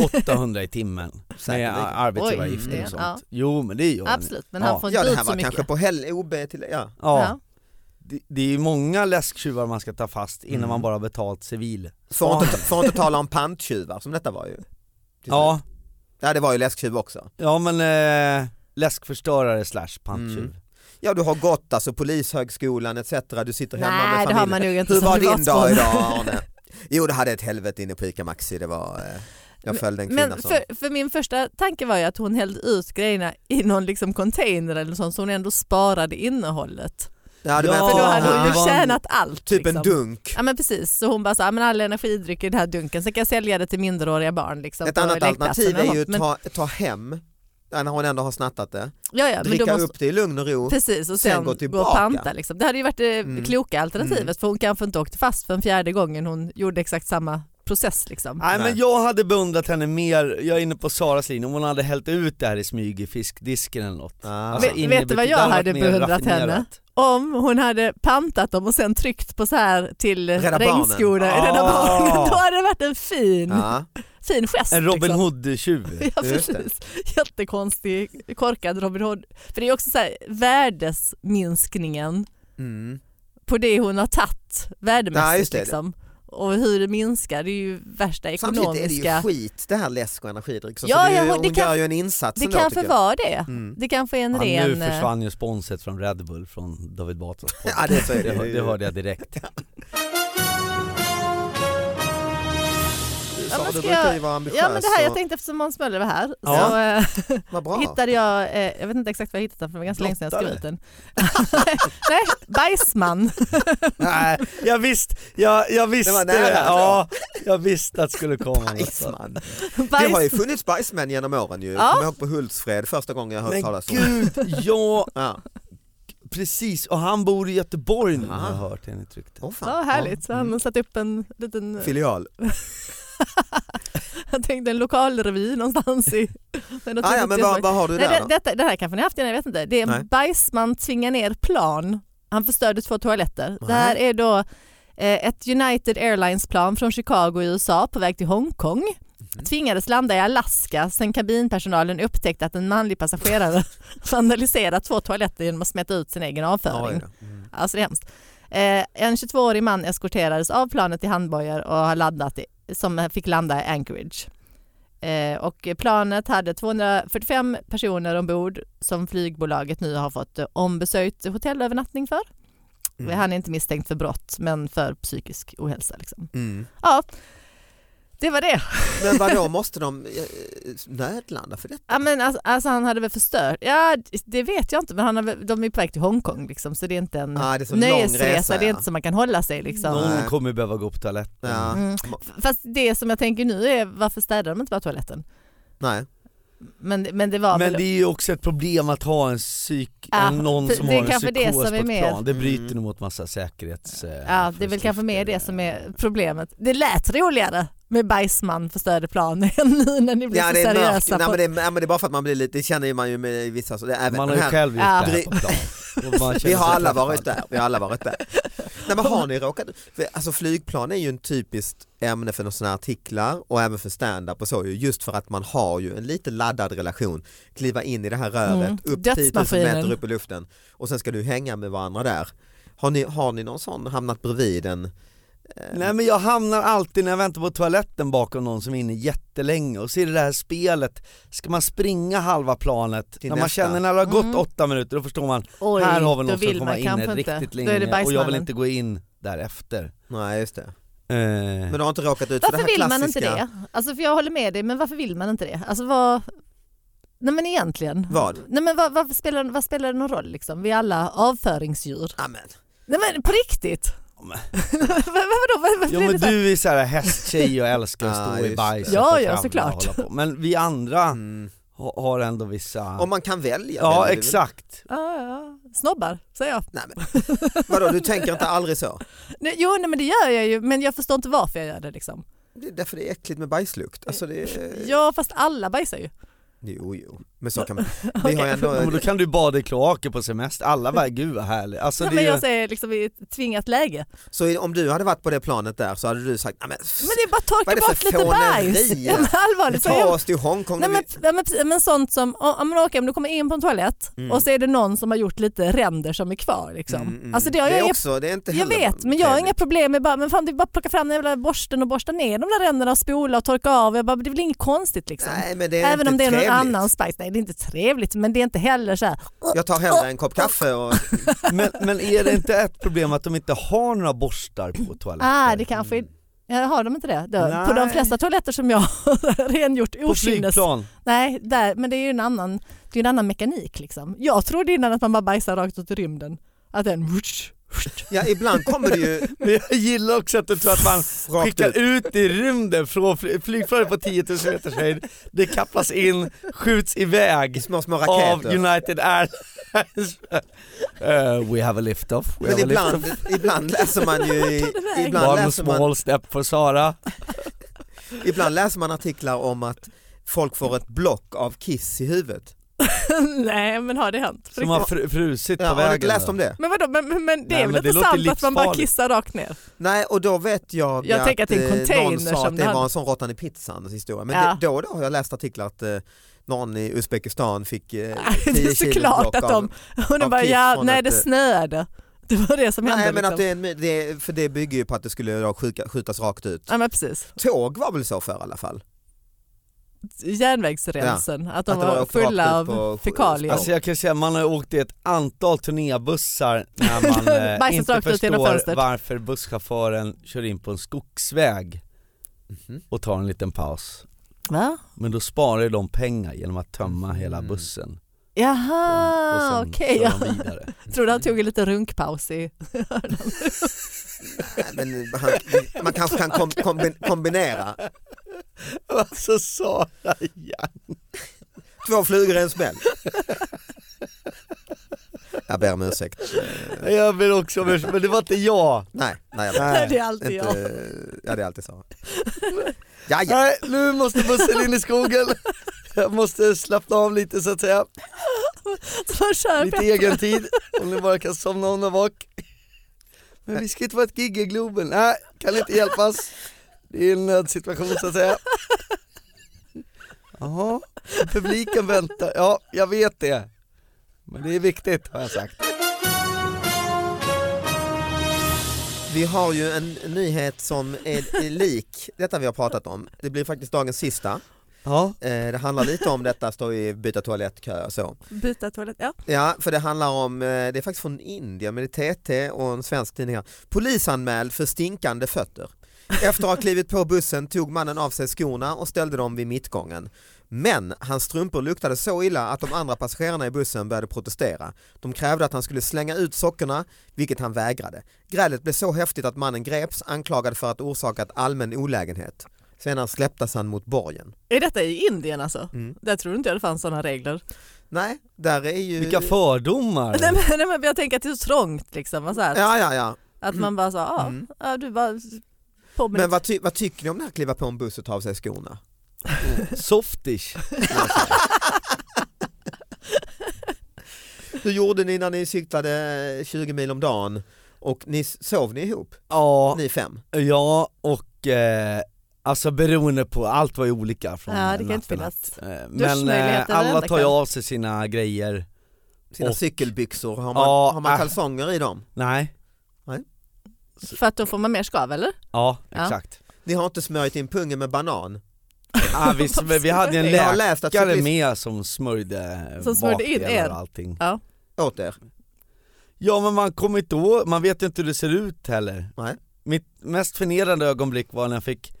Speaker 4: 800 i timmen med
Speaker 2: Säkerligen.
Speaker 4: ar- arbetsgivaravgifter
Speaker 3: Oj,
Speaker 2: mm,
Speaker 4: och sånt.
Speaker 3: ja.
Speaker 4: Jo men det gör han ju.
Speaker 3: Absolut, men
Speaker 4: Ja.
Speaker 3: han får inte
Speaker 2: Ja, det
Speaker 3: ut
Speaker 2: här
Speaker 3: så
Speaker 2: var
Speaker 3: mycket.
Speaker 2: kanske på hel OB till, ja.
Speaker 4: Ja.
Speaker 3: Ja.
Speaker 4: Det, det är ju många läsktjuvar man ska ta fast innan
Speaker 2: Mm.
Speaker 4: man bara betalt civil.
Speaker 2: Får inte, får inte tala om panttjuvar som detta var ju. Till
Speaker 4: Ja,
Speaker 2: slut. ja, det var ju läsktjuv också.
Speaker 4: ja men eh, läskförstörare slash panttjuv.
Speaker 2: Mm. Ja, du har gått alltså polishögskolan etc. Du sitter hemma med
Speaker 3: Nej, det
Speaker 2: familjen.
Speaker 3: har man nog inte
Speaker 2: Hur
Speaker 3: som
Speaker 2: var din dag
Speaker 3: privatperson.
Speaker 2: idag Arne? Jo det hade ett helvete inne på ICA Maxi, det var, eh, jag följde en kvinna
Speaker 3: Men
Speaker 2: som...
Speaker 3: för, för min första tanke var ju att hon hällde ut grejerna i någon liksom container eller sånt så hon ändå sparade innehållet.
Speaker 2: Ja, du
Speaker 4: Ja,
Speaker 2: menar-
Speaker 3: För då hade
Speaker 4: det
Speaker 3: hon ju
Speaker 4: var en-
Speaker 3: tjänat allt.
Speaker 2: Typ en
Speaker 3: liksom.
Speaker 2: dunk.
Speaker 3: Ja men precis, så hon bara så, ja, men alla energidrycker i den här dunken, sen kan jag sälja det till minderåriga barn. Liksom,
Speaker 2: Ett
Speaker 3: på
Speaker 2: annat
Speaker 3: lekplatsen
Speaker 2: alternativ
Speaker 3: eller
Speaker 2: är ju
Speaker 3: något.
Speaker 2: att ta, ta hem, ja, när hon ändå har snattat det,
Speaker 3: men, ja, ja, men då
Speaker 2: dricka
Speaker 3: måste,
Speaker 2: upp det i lugn och ro.
Speaker 3: Precis, och
Speaker 2: sen
Speaker 3: sen,
Speaker 2: gå
Speaker 3: gå,
Speaker 2: tillbaka.
Speaker 3: och panta. Liksom. Det hade ju varit det
Speaker 2: Mm.
Speaker 3: kloka alternativet
Speaker 2: Mm.
Speaker 3: för hon kanske inte åkte fast för en fjärde gången hon gjorde exakt samma process. Liksom.
Speaker 4: Nej,
Speaker 2: Nej.
Speaker 4: men jag hade beundrat henne mer, jag är inne på Saras linje, om hon hade hällt ut det här i smyg i fiskdisken eller något.
Speaker 2: Ah.
Speaker 4: Alltså,
Speaker 3: Vet-
Speaker 4: in i
Speaker 3: vet du vad
Speaker 4: butik-
Speaker 3: jag
Speaker 4: det hade
Speaker 3: hade
Speaker 4: varit mer
Speaker 3: beundrat henne?
Speaker 4: raffinerat.
Speaker 3: Om hon hade pantat dem och sen tryckt på så här till eh,
Speaker 2: Rädda
Speaker 3: regnskola,
Speaker 4: Barnen.
Speaker 3: Rädda
Speaker 4: Ah.
Speaker 3: Barnen, då hade det varit en fin,
Speaker 2: Ja.
Speaker 3: fin gest.
Speaker 4: En Robin
Speaker 3: liksom.
Speaker 4: Hood-tjuv.
Speaker 3: Ja
Speaker 2: Just det.
Speaker 3: precis, jättekonstig, korkad Robin Hood. För det är också så här, värdesminskningen
Speaker 2: Mm.
Speaker 3: på det hon har tagit
Speaker 2: Ja,
Speaker 3: värdemässigt
Speaker 2: just det.
Speaker 3: liksom. Och hur det minskar, det är ju värsta ekonomiska...
Speaker 2: Samtidigt är det ju skit det här läsk och energidryck, så,
Speaker 3: Ja,
Speaker 2: så det är
Speaker 3: ja,
Speaker 2: ju,
Speaker 3: hon-
Speaker 2: hon
Speaker 3: det kan-
Speaker 2: gör ju en insats
Speaker 3: Det
Speaker 2: ändå,
Speaker 3: kanske
Speaker 2: tycker jag.
Speaker 3: var det.
Speaker 2: Mm.
Speaker 3: Det kanske är en
Speaker 4: Ja,
Speaker 3: ren... eh,
Speaker 4: nu försvann ju sponset från Red Bull från David Batras podd.
Speaker 2: Ja, det, så är det.
Speaker 4: det, hör-
Speaker 2: ju.
Speaker 4: det hörde jag direkt.
Speaker 2: Du
Speaker 3: Ja,
Speaker 2: sa,
Speaker 3: men
Speaker 2: du
Speaker 3: ska
Speaker 2: brukar
Speaker 3: jag-
Speaker 2: ju vara ambitiös.
Speaker 3: Ja men det här, jag
Speaker 2: och-
Speaker 3: tänkte eftersom Måns Möller var här
Speaker 2: Ja.
Speaker 3: så eh,
Speaker 2: Vad bra.
Speaker 3: hittade jag, eh, jag vet inte exakt vad jag hittat den för det var ganska länge sedan jag skrev ut den.
Speaker 4: Blottare.
Speaker 3: Nej, bajsman.
Speaker 4: Nej, jag visste, jag, jag visste,
Speaker 2: Det var nära,
Speaker 4: ja, jag visste att det skulle komma något sånt.
Speaker 2: Bajsman. Det har ju
Speaker 3: Bajs...
Speaker 2: funnits bajsmän genom åren ju.
Speaker 3: Ja.
Speaker 2: Kommer ihåg på Hultsfred första gången jag hört
Speaker 4: Men
Speaker 2: talas om det.
Speaker 4: gud, ja
Speaker 2: Ja.
Speaker 4: precis, och han bor i Göteborg nu
Speaker 2: Ah.
Speaker 4: har jag hört enligt ryktet.
Speaker 2: Åh,
Speaker 3: Ja,
Speaker 2: fan. mm.
Speaker 3: härligt, så han har satt upp en liten,
Speaker 2: Filial.
Speaker 3: jag tänkte en lokalrevy någonstans i... med något
Speaker 2: Ah, ja,
Speaker 3: litet
Speaker 2: men
Speaker 3: Göteborg.
Speaker 2: vad, vad har du
Speaker 3: Nej,
Speaker 2: där
Speaker 3: det,
Speaker 2: då?
Speaker 3: detta, det här kanske ni har haft innan, jag vet inte. Det är en
Speaker 2: Nej.
Speaker 3: bajsman tvingar ner plan. Han förstörde två toaletter. Det här är då eh, ett United Airlines-plan från Chicago i USA på väg till Hongkong. Tvingades landa i Alaska sen kabinpersonalen upptäckte att en manlig passagerare vandaliserat två toaletter genom att smeta ut sin egen avföring.
Speaker 2: Oj då. Mm.
Speaker 3: Alltså det är hemskt. Eh, en 22-årig man eskorterades av planet i handbojor och har landat i, som fick landa i Anchorage. Eh, och planet hade 245 personer ombord som flygbolaget nu har fått eh, ombesökt hotellövernattning för.
Speaker 2: Mm.
Speaker 3: Han är inte misstänkt för brott men för psykisk ohälsa. Liksom.
Speaker 2: Mm.
Speaker 3: Ja, det var det.
Speaker 2: Men vadå, måste de eh, nödlanda för detta?
Speaker 3: Ja, men alltså, alltså han hade väl förstört, ja det vet jag inte men han har, väl- de är på väg till Hongkong liksom, så det är inte en
Speaker 2: Ah, det är så
Speaker 3: nöjesresa,
Speaker 2: lång resa,
Speaker 3: det är
Speaker 2: ja.
Speaker 3: inte så man kan hålla sig liksom.
Speaker 4: Någon
Speaker 2: Nej.
Speaker 4: kommer behöva gå på toaletten.
Speaker 2: Ja.
Speaker 3: Mm. F- Fast det som jag tänker nu är varför städar de inte bara toaletten?
Speaker 2: Nej.
Speaker 3: Men, men det var
Speaker 4: Men
Speaker 3: väl...
Speaker 4: det är ju också ett problem att ha en psyk,
Speaker 3: Ja,
Speaker 4: en någon
Speaker 3: för-
Speaker 4: som
Speaker 3: det är
Speaker 4: har en
Speaker 3: kanske det
Speaker 4: psykos
Speaker 3: som
Speaker 4: på
Speaker 3: är
Speaker 4: ett
Speaker 3: med.
Speaker 4: plan. Det bryter
Speaker 2: Mm.
Speaker 4: nog mot massa säkerhets... eh,
Speaker 3: ja, det är väl
Speaker 4: föreskrifter. eh.
Speaker 3: kanske mer det som är problemet. Det lät roligare med bajsman förstörde plan än nu när ni blir
Speaker 2: Ja,
Speaker 3: så
Speaker 2: det är mörkt.
Speaker 3: seriösa.
Speaker 2: Nej,
Speaker 3: på...
Speaker 2: men det, är, ja, men det är bara för att man blir lite, det känner ju man ju med vissa, så det, även
Speaker 4: Man
Speaker 2: den
Speaker 4: har ju
Speaker 2: här,
Speaker 4: själv gjort
Speaker 3: Ja.
Speaker 4: det här på plan. Och man
Speaker 2: vi
Speaker 4: känner
Speaker 2: har
Speaker 4: sig
Speaker 2: alla
Speaker 4: träffad.
Speaker 2: varit där, vi har alla varit där. Nej, men har ni råkat, för, alltså flygplan är ju en typiskt ämne för sådana artiklar och även för stand-up och så ju, just för att man har ju en lite laddad relation, kliva in i det här röret,
Speaker 3: Mm.
Speaker 2: upp 10 000 meter
Speaker 3: Dödsmaskinen.
Speaker 2: upp i luften och sen ska du hänga med varandra där. Har ni, har ni någon sån hamnat bredvid en?
Speaker 4: Nej men jag hamnar alltid när jag väntar på toaletten bakom någon som är inne jättelänge och så är det det här spelet, ska man springa halva planet?
Speaker 2: Till
Speaker 4: när man
Speaker 2: nästa.
Speaker 4: känner när det har gått
Speaker 3: Mm.
Speaker 4: åtta minuter då förstår man,
Speaker 3: Oj,
Speaker 4: här har
Speaker 3: då
Speaker 4: vi någon som
Speaker 3: vill
Speaker 4: kommer
Speaker 3: man
Speaker 4: in
Speaker 3: kanske inte.
Speaker 4: riktigt
Speaker 3: Då är det
Speaker 4: länge och jag vill
Speaker 3: bajsmannen.
Speaker 4: inte gå in därefter.
Speaker 2: Nej just det.
Speaker 4: Eh,
Speaker 2: Men du har inte råkat ut för det
Speaker 3: Varför
Speaker 2: här
Speaker 3: vill
Speaker 2: klassiska?
Speaker 3: man inte det? Alltså för jag håller med dig, men varför vill man inte det? Alltså vad... Nej men egentligen.
Speaker 2: Vad?
Speaker 3: Nej men vad, vad, spelar, vad spelar det någon roll liksom? Vi är alla avföringsdjur.
Speaker 2: Amen.
Speaker 3: Nej men på riktigt!
Speaker 4: men-
Speaker 3: Vad- Vadå? Vad- vad
Speaker 4: Ja
Speaker 3: blir
Speaker 4: men
Speaker 3: Alltså, det så här?
Speaker 4: du är såhär hästtjej och älskar att
Speaker 2: Ja,
Speaker 4: stå
Speaker 2: just
Speaker 4: i
Speaker 2: det.
Speaker 4: bajset
Speaker 3: Ja,
Speaker 4: och
Speaker 3: ja,
Speaker 4: kravla
Speaker 3: såklart.
Speaker 4: och hålla på. Men vi andra
Speaker 2: Mm.
Speaker 4: ha- har ändå vissa...
Speaker 2: Om man kan välja?
Speaker 4: Ja
Speaker 2: väljer du väl?
Speaker 4: exakt.
Speaker 3: Ja, ja. Snobbar, säger jag.
Speaker 2: Nej, men, vadå, du tänker inte aldrig så?
Speaker 3: Nej, Jo, nej, men det gör jag ju, men jag förstår inte varför jag gör det liksom.
Speaker 2: Det är därför det är äckligt med bajslukt. Alltså det
Speaker 4: Eh.
Speaker 2: är...
Speaker 3: Ja, fast alla bajsar ju.
Speaker 2: Jo, jo, men så kan man. Vi har ju
Speaker 4: Ja, men
Speaker 2: ändå...
Speaker 4: då kan du bada i kloaker på semester, alla bara gud vad härligt. Alltså,
Speaker 3: Nej,
Speaker 4: det är
Speaker 3: men
Speaker 4: ju-
Speaker 3: jag säger liksom i ett tvingat läge.
Speaker 2: Så om du hade varit på det planet där så hade du sagt, "Nej, men,
Speaker 3: Men det är bara att torka
Speaker 2: Vad är det för
Speaker 3: bort lite
Speaker 2: fåneri?
Speaker 3: bajs. Ja, men allvarligt. så är
Speaker 2: ta
Speaker 3: jag-
Speaker 2: oss till Hongkong.
Speaker 3: Nej,
Speaker 2: när
Speaker 3: men,
Speaker 2: vi-
Speaker 3: ja, men, precis, men sånt som, om, om, om du kommer in på en toalett
Speaker 2: Mm.
Speaker 3: och så är det någon som har gjort lite ränder som är kvar. Liksom.
Speaker 2: Mm, mm.
Speaker 3: Alltså, det har jag,
Speaker 2: är
Speaker 3: inga-
Speaker 2: också, det är inte
Speaker 3: jag
Speaker 2: heller
Speaker 3: vet, men jag har
Speaker 2: trevligt.
Speaker 3: inga problem med bara, men fan, det är bara att plocka fram den jävla borsten och borsta ner de där ränderna och spola och torka av. Jag bara, det är väl inget konstigt liksom.
Speaker 2: Nej, men det är
Speaker 3: Även
Speaker 2: inte
Speaker 3: om det är någon
Speaker 2: trevligt.
Speaker 3: annan spice. Nej, det är inte trevligt, men det är inte heller så här.
Speaker 2: Jag tar hellre en kopp kaffe och
Speaker 4: men, men är det inte ett problem att de inte har några borstar på toaletten?
Speaker 3: Ah, det kanske är... Ja, har de inte det? Då, på de
Speaker 4: Nej.
Speaker 3: flesta toaletter som jag har rengjort
Speaker 4: På
Speaker 3: okynnes.
Speaker 4: flygplan?
Speaker 3: Nej, där, men det är ju en annan, det är ju en annan mekanik. Liksom. Jag trodde innan att man bara bajsar rakt ut i rymden. Att den... Whoosh, whoosh.
Speaker 2: ja, ibland kommer det ju
Speaker 4: Men jag gillar också att du tror att man
Speaker 2: rakt ut.
Speaker 4: skickar ut i rymden från fly- flygplanet på 10 000 meters höjd, det kapslas in, skjuts
Speaker 2: I
Speaker 4: iväg
Speaker 2: små, små
Speaker 4: av
Speaker 2: raketer.
Speaker 4: United Airlines. Eh, we have a lift-off. We
Speaker 2: Men
Speaker 4: have
Speaker 3: liksom.
Speaker 4: a
Speaker 2: ibland,
Speaker 4: lift-off.
Speaker 2: ibland läser man ju i- ibland
Speaker 4: One
Speaker 2: läser man,
Speaker 4: small step for Sara.
Speaker 2: ibland läser man artiklar om att folk får ett block av kiss i huvudet.
Speaker 3: Nej, men har det hänt? På
Speaker 4: Som har
Speaker 3: riktigt?
Speaker 4: fr- frusit
Speaker 2: Ja,
Speaker 4: på
Speaker 2: har du
Speaker 4: vägen.
Speaker 2: inte läst om det?
Speaker 3: Men vadå, men, men- men det
Speaker 4: Nej,
Speaker 3: är väl
Speaker 4: men det
Speaker 3: inte
Speaker 4: låter
Speaker 3: sant att man bara
Speaker 4: livsfarligt.
Speaker 3: kissar rakt ner?
Speaker 2: Nej, och då vet jag,
Speaker 3: Jag tänker att det är en
Speaker 2: eh, någon
Speaker 3: container
Speaker 2: sa
Speaker 3: som
Speaker 2: att det
Speaker 3: den-
Speaker 2: var en sån råttan i pizzan historia. Men
Speaker 3: Ja.
Speaker 2: det, då och då har jag läst artiklar att eh, någon i Uzbekistan fick eh,
Speaker 3: Nej, det är
Speaker 2: 10 kilo
Speaker 3: såklart
Speaker 2: block
Speaker 3: att
Speaker 2: av-
Speaker 3: de- Och de
Speaker 2: Av
Speaker 3: bara,
Speaker 2: kiss
Speaker 3: ja,
Speaker 2: från
Speaker 3: nej
Speaker 2: ett,
Speaker 3: det
Speaker 2: eh,
Speaker 3: snöade. Det var det som hände.
Speaker 2: Nej men
Speaker 3: liksom.
Speaker 2: att det, är en my- det, är- för det bygger ju på att det skulle då skjuka, skjutas rakt ut.
Speaker 3: Ja men precis,
Speaker 2: Tåg var väl så för i alla fall?
Speaker 3: järnvägsremsen, att de
Speaker 2: Att det
Speaker 3: var,
Speaker 2: var rakt
Speaker 3: fulla
Speaker 2: ut på-
Speaker 3: av fekalier.
Speaker 4: Alltså jag kan säga man har åkt i ett antal turnébussar när man
Speaker 3: Bajsat
Speaker 4: eh, inte
Speaker 3: rakt ut genom
Speaker 4: förstår
Speaker 3: fönstret.
Speaker 4: varför busschauffören kör in på en skogsväg
Speaker 3: Mm-hmm.
Speaker 2: Mhm.
Speaker 4: och tar en liten paus.
Speaker 3: Va?
Speaker 4: Men då sparar ju de pengar genom att tömma hela
Speaker 2: Mm.
Speaker 4: bussen.
Speaker 3: Jaha,
Speaker 4: och sen
Speaker 3: Ah, okej.
Speaker 4: kör
Speaker 3: Jag
Speaker 4: de vidare.
Speaker 3: trodde han tog en liten runkpaus i...
Speaker 2: Nej, men han, man kanske kan kom, kombi- kombinera
Speaker 4: Alltså Sara ja.
Speaker 2: två flugor i en smäll. Jag ber om ursäkt.
Speaker 4: Jag ber också om ursäkt, men det var inte jag.
Speaker 2: Nej, nej jag ber.
Speaker 4: Nej.
Speaker 3: Det är alltid jag.
Speaker 2: Inte, eh, ja det är alltid så. Ja, ja.
Speaker 4: Nej, nu måste bussen in i skogen. Jag måste slappna av lite så att säga.
Speaker 3: Så han kör
Speaker 4: Lite
Speaker 3: på-
Speaker 4: egen tid, om ni bara kan somna om där bak. Men vi ska inte vara ett gig i Globen, nej, kan inte hjälpas. Det är en nödsituation så att säga. Jaha, publiken väntar, ja jag vet det. Men det är viktigt har jag sagt.
Speaker 2: Vi har ju en nyhet som är är lik detta vi har pratat om. Det blir faktiskt dagens sista.
Speaker 4: Ja,
Speaker 2: Eh, Det handlar lite om detta, stå i byta toalettkö och så.
Speaker 3: Byta toalett, ja.
Speaker 2: Ja, för det handlar om, eh, det är faktiskt från Indien, men det är TT och en svensk tidning här. Polisanmäld för stinkande fötter. Efter att ha klivit på bussen tog mannen av sig skorna och ställde dem vid mittgången. Men hans strumpor luktade så illa att de andra passagerarna i bussen började protestera. De krävde att han skulle slänga ut sockorna, vilket han vägrade. Grälet blev så häftigt att mannen greps, anklagad för att orsakat allmän olägenhet. Senare släpptes han mot borgen.
Speaker 3: Är detta i Indien alltså?
Speaker 2: Mm.
Speaker 3: Där tror inte jag det fanns sådana regler.
Speaker 2: Nej, där är ju...
Speaker 4: vilka fördomar.
Speaker 3: Nej, men, nej, men jag tänker att det är så trångt liksom. och Så här,
Speaker 2: Ja, ja, ja.
Speaker 3: Att man bara sa, ah,
Speaker 2: Mm.
Speaker 3: ja du bara på med
Speaker 2: Men vad, ty- vad tycker ni om det här att kliva på en buss och ta av sig skorna?
Speaker 4: Softish.
Speaker 2: Hur gjorde ni när ni cyklade 20 mil om dagen och ni sov ni ihop,
Speaker 4: Ja,
Speaker 2: ni fem?
Speaker 4: ja och eh, alltså beroende på, allt var ju olika från
Speaker 3: Ja, det kan
Speaker 4: natt
Speaker 3: inte
Speaker 4: till natt.
Speaker 3: finnas.
Speaker 4: Eh, Men eh,
Speaker 3: Duschmöjligheter
Speaker 4: alla
Speaker 3: varenda
Speaker 4: tar ju
Speaker 3: kväll.
Speaker 4: av sig sina grejer.
Speaker 2: Sina
Speaker 4: Och-
Speaker 2: cykelbyxor, har man,
Speaker 4: Ja,
Speaker 2: har man
Speaker 4: äh.
Speaker 2: kalsonger i dem?
Speaker 4: Nej,
Speaker 3: För att då får man mer skav eller?
Speaker 4: ja
Speaker 3: Ja.
Speaker 4: exakt.
Speaker 2: Ni har inte smörjt in pungen med banan?
Speaker 4: Ah, vi, men vi hade
Speaker 2: Jag
Speaker 4: en
Speaker 2: har
Speaker 4: läkare
Speaker 2: läst att cyklister
Speaker 4: med som smörjde,
Speaker 3: Som smörjde in
Speaker 4: bakdelar
Speaker 3: er.
Speaker 4: och allting.
Speaker 2: åt er.
Speaker 4: Ja men man kommer inte ihåg, man vet ju inte hur det ser ut heller.
Speaker 2: Nej.
Speaker 4: Mitt mest förnedrande ögonblick var när jag fick,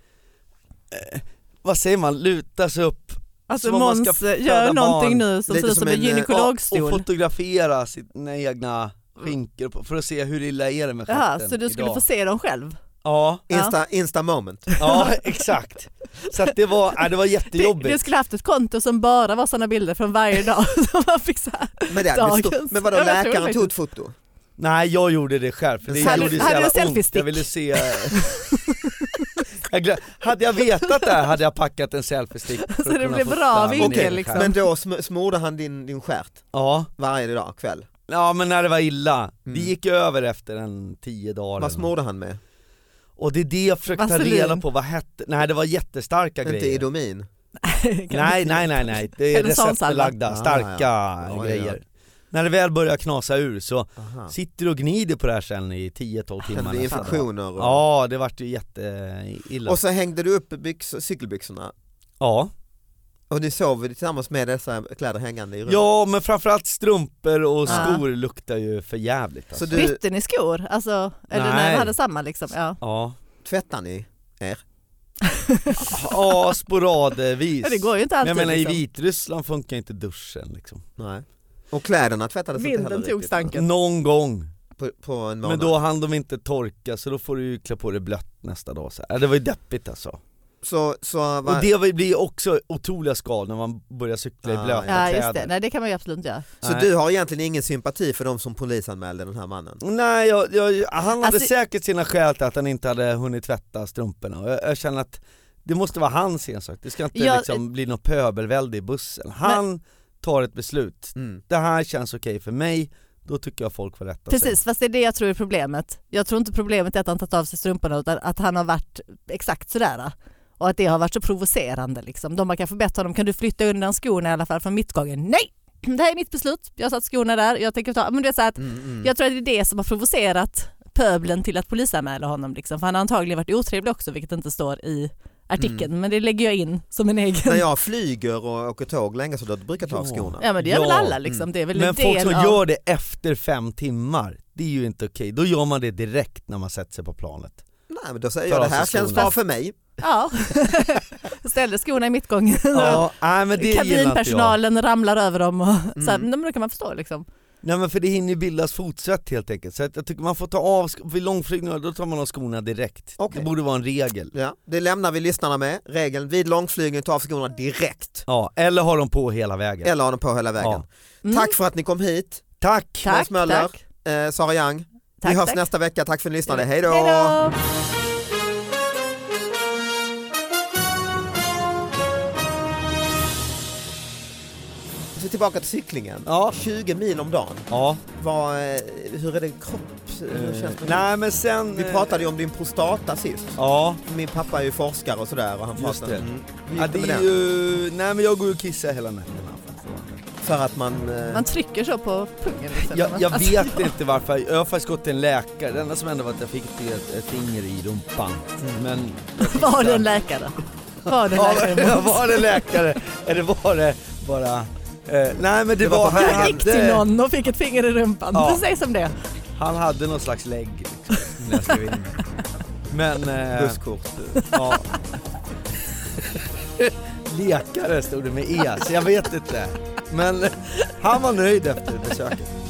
Speaker 4: eh, vad säger man, luta sig upp
Speaker 3: Alltså
Speaker 4: Som om man ska
Speaker 3: Måns
Speaker 4: föda
Speaker 3: gör någonting
Speaker 4: barn.
Speaker 3: nu som
Speaker 2: Lite
Speaker 3: ser ut
Speaker 2: som
Speaker 3: som en
Speaker 2: en, eh,
Speaker 4: och, och
Speaker 3: gynekologstol.
Speaker 4: fotografera sina egna skinkor på- för att se hur illa är det med
Speaker 3: Jaha,
Speaker 4: stjärten
Speaker 3: Mm. så du skulle
Speaker 4: idag.
Speaker 3: få se dem själv?
Speaker 4: Ja,
Speaker 2: Insta, Insta moment.
Speaker 4: ja exakt. Så att det var, ja, det var
Speaker 3: Det,
Speaker 4: jättejobbigt.
Speaker 3: det skulle haft ett konto som bara var sådana bilder från varje dag. som man fick så här.
Speaker 2: Men, det hade blivit
Speaker 3: Dagens.
Speaker 2: stort. men vadå,
Speaker 3: Ja, jag tror
Speaker 2: läkaren
Speaker 3: det
Speaker 2: tog ett foto?
Speaker 4: Nej jag gjorde det själv för det
Speaker 2: Hade-
Speaker 4: gjorde så
Speaker 3: hade du
Speaker 4: jävla
Speaker 3: selfie
Speaker 4: ont. Jag
Speaker 3: stick?
Speaker 4: ville se... jag glöm... Hade jag vetat det här hade jag packat en selfiestick. för att
Speaker 3: det
Speaker 4: kunna
Speaker 3: blev
Speaker 4: få
Speaker 3: bra
Speaker 4: stanna
Speaker 3: vinkel,
Speaker 4: ner.
Speaker 3: liksom.
Speaker 2: Men då sm- smorde han din, din stjärt
Speaker 4: Ja.
Speaker 2: varje dag kväll?
Speaker 4: ja men när det var illa. Det
Speaker 2: Mm.
Speaker 4: gick över efter en tio dagar.
Speaker 2: Vad
Speaker 4: eller
Speaker 2: smorde han med?
Speaker 4: Och det är det jag försökte ta
Speaker 3: Vaselin.
Speaker 4: reda på, vad hette, nej det var jättestarka
Speaker 2: Inte
Speaker 4: grejer.
Speaker 2: Idomin?
Speaker 4: Nej nej nej nej, det är
Speaker 3: Eller sån
Speaker 4: receptbelagda,
Speaker 2: salva.
Speaker 4: starka
Speaker 2: Ah, ja. Oj,
Speaker 4: grejer. När det väl börjar knasa ur så
Speaker 2: Aha.
Speaker 4: sitter du och gnider på det här sen i 10-12
Speaker 2: Kan det
Speaker 4: timmar.
Speaker 2: bli
Speaker 4: nästan.
Speaker 2: infektioner? Och...
Speaker 4: Ja det vart ju jätteilla.
Speaker 2: och så hängde du upp byxor, cykelbyxorna
Speaker 4: Ja.
Speaker 2: och ni sov tillsammans med dessa kläder hängande i rummet?
Speaker 4: ja men framförallt strumpor och
Speaker 3: Ja.
Speaker 4: skor luktar ju för jävligt alltså.
Speaker 2: Så du
Speaker 3: Bytte ni skor? Alltså, eller när
Speaker 4: Nej.
Speaker 3: ni hade samma liksom? Ja.
Speaker 4: Ja.
Speaker 2: tvättar ni?
Speaker 4: ja, sporadvis.
Speaker 3: Ja, det går ju inte
Speaker 4: men
Speaker 3: alltid.
Speaker 4: jag menar i
Speaker 3: liksom.
Speaker 4: Vitryssland funkar inte duschen liksom.
Speaker 2: Nej. Och kläderna tvättades inte
Speaker 3: Vinden
Speaker 2: heller
Speaker 3: tog
Speaker 2: riktigt,
Speaker 3: stanken.
Speaker 4: Någon gång.
Speaker 2: På, på en månad?
Speaker 4: Men då hann de inte torka så då får du ju klä på dig blött nästa dag så här. Ja, Det var ju deppigt alltså.
Speaker 2: Så, så
Speaker 4: Och
Speaker 2: var...
Speaker 4: det var- blir ju också otroliga skador när man börjar cykla
Speaker 2: Ah,
Speaker 4: i blöta
Speaker 3: Ja just det,
Speaker 4: kläder.
Speaker 3: nej det kan man ju absolut inte göra.
Speaker 2: Så
Speaker 4: Nej.
Speaker 2: du har egentligen ingen sympati för de som polisanmälde den här mannen?
Speaker 4: Nej, jag, jag, han hade
Speaker 3: Alltså-
Speaker 4: säkert sina skäl till att han inte hade hunnit tvätta strumporna och jag, jag känner att det måste vara hans ensak, det ska inte
Speaker 3: Jag-
Speaker 4: liksom bli något pöbelvälde i bussen. Han tar ett beslut,
Speaker 2: Mm.
Speaker 4: det här känns okej för mig, då tycker jag folk får rätta sig.
Speaker 3: Precis, fast det är det jag tror är problemet. Jag tror inte problemet är att han tagit av sig strumporna utan att han har varit exakt sådär. Och att det har varit så provocerande liksom. De har kanske bett honom, kan du flytta undan skorna i alla fall från mittgången? Nej! Det här är mitt beslut, jag har satt skorna där, jag tänker ta... Men du vet så här att
Speaker 2: Mm, mm.
Speaker 3: jag tror att det är det som har provocerat pöblen till att polisanmäla honom liksom. För han har antagligen varit otrevlig också vilket inte står i artikeln.
Speaker 4: Mm.
Speaker 3: Men det lägger jag in som en egen...
Speaker 2: När jag flyger och åker tåg länge så då brukar jag ta av
Speaker 4: Ja.
Speaker 2: skorna.
Speaker 3: Ja men det gör väl
Speaker 4: Ja, mm.
Speaker 3: alla liksom. Det är väl en
Speaker 4: Men folk
Speaker 3: del
Speaker 4: som
Speaker 3: av-
Speaker 4: gör det efter fem timmar, det är ju inte okej. Då gör man det direkt när man sätter sig på planet.
Speaker 2: Nej men då säger
Speaker 4: Tar
Speaker 2: jag det
Speaker 4: av sig
Speaker 2: här känns
Speaker 4: skorna.
Speaker 2: bra för mig.
Speaker 3: Ja, ställde skorna i mittgången.
Speaker 4: Ja, nej, men det gillar inte jag.
Speaker 3: Kabinpersonalen ramlar över dem och så här,
Speaker 2: Mm.
Speaker 3: men då kan man förstå liksom.
Speaker 4: Nej men för det hinner ju bildas fotsvett helt enkelt, så att jag tycker man får ta av, sk- vid långflygningar då tar man av skorna direkt.
Speaker 2: Okej.
Speaker 4: Det borde vara en regel.
Speaker 2: Ja, det lämnar vi lyssnarna med, regeln vid långflygning ta av skorna direkt.
Speaker 4: Ja, eller har de på hela vägen.
Speaker 2: Eller ha dem på hela vägen.
Speaker 4: Ja.
Speaker 3: Mm.
Speaker 2: Tack för att ni kom hit,
Speaker 4: Tack!
Speaker 2: Måns
Speaker 3: tack,
Speaker 2: Möller.
Speaker 3: tack.
Speaker 2: eh, Sara Young.
Speaker 3: Tack,
Speaker 2: vi hörs
Speaker 3: tack.
Speaker 2: nästa vecka, tack för att ni lyssnade,
Speaker 3: Ja.
Speaker 2: hej då!
Speaker 3: Hej då!
Speaker 2: Så tillbaka till cyklingen,
Speaker 4: Ja.
Speaker 2: 20 mil om dagen.
Speaker 4: Ja.
Speaker 2: Vad, eh, hur är det kropp? Hur
Speaker 4: Eh,
Speaker 2: känns det?
Speaker 4: nej men sen...
Speaker 2: Vi
Speaker 4: eh,
Speaker 2: pratade ju om din prostata sist.
Speaker 4: Ja,
Speaker 2: Min pappa är ju forskare och sådär och han
Speaker 4: Just
Speaker 2: pratade
Speaker 4: det.
Speaker 2: Mm. Hur gick
Speaker 4: ja
Speaker 2: det
Speaker 4: det
Speaker 2: med
Speaker 4: är
Speaker 2: den?
Speaker 4: ju... Nej men jag går ju och kissar hela nätterna. faktiskt.
Speaker 2: För att man... eh,
Speaker 3: Man trycker så på pungen. Liksom.
Speaker 4: Jag, jag
Speaker 3: Alltså,
Speaker 4: vet inte varför, jag har faktiskt gått till en läkare, det enda som hände var att jag fick ett, ett finger i rumpan.
Speaker 2: Mm.
Speaker 4: Men...
Speaker 3: Var du en läkare? Var du en
Speaker 4: Ja,
Speaker 3: läkare? Måns?
Speaker 4: var det läkare eller var det bara... Eh, nej men det,
Speaker 2: var
Speaker 4: var...
Speaker 2: på
Speaker 4: han
Speaker 2: vägen.
Speaker 3: Du gick till
Speaker 4: hade-
Speaker 3: någon och fick ett finger i rumpan.
Speaker 4: Ja.
Speaker 3: Precis som det.
Speaker 4: Han hade någon slags lägg liksom, när jag skrev in mig. Men... Eh,
Speaker 2: Busskort.
Speaker 4: ja. Lekare stod det med E, så jag vet inte. Men eh, han var nöjd efter besöket.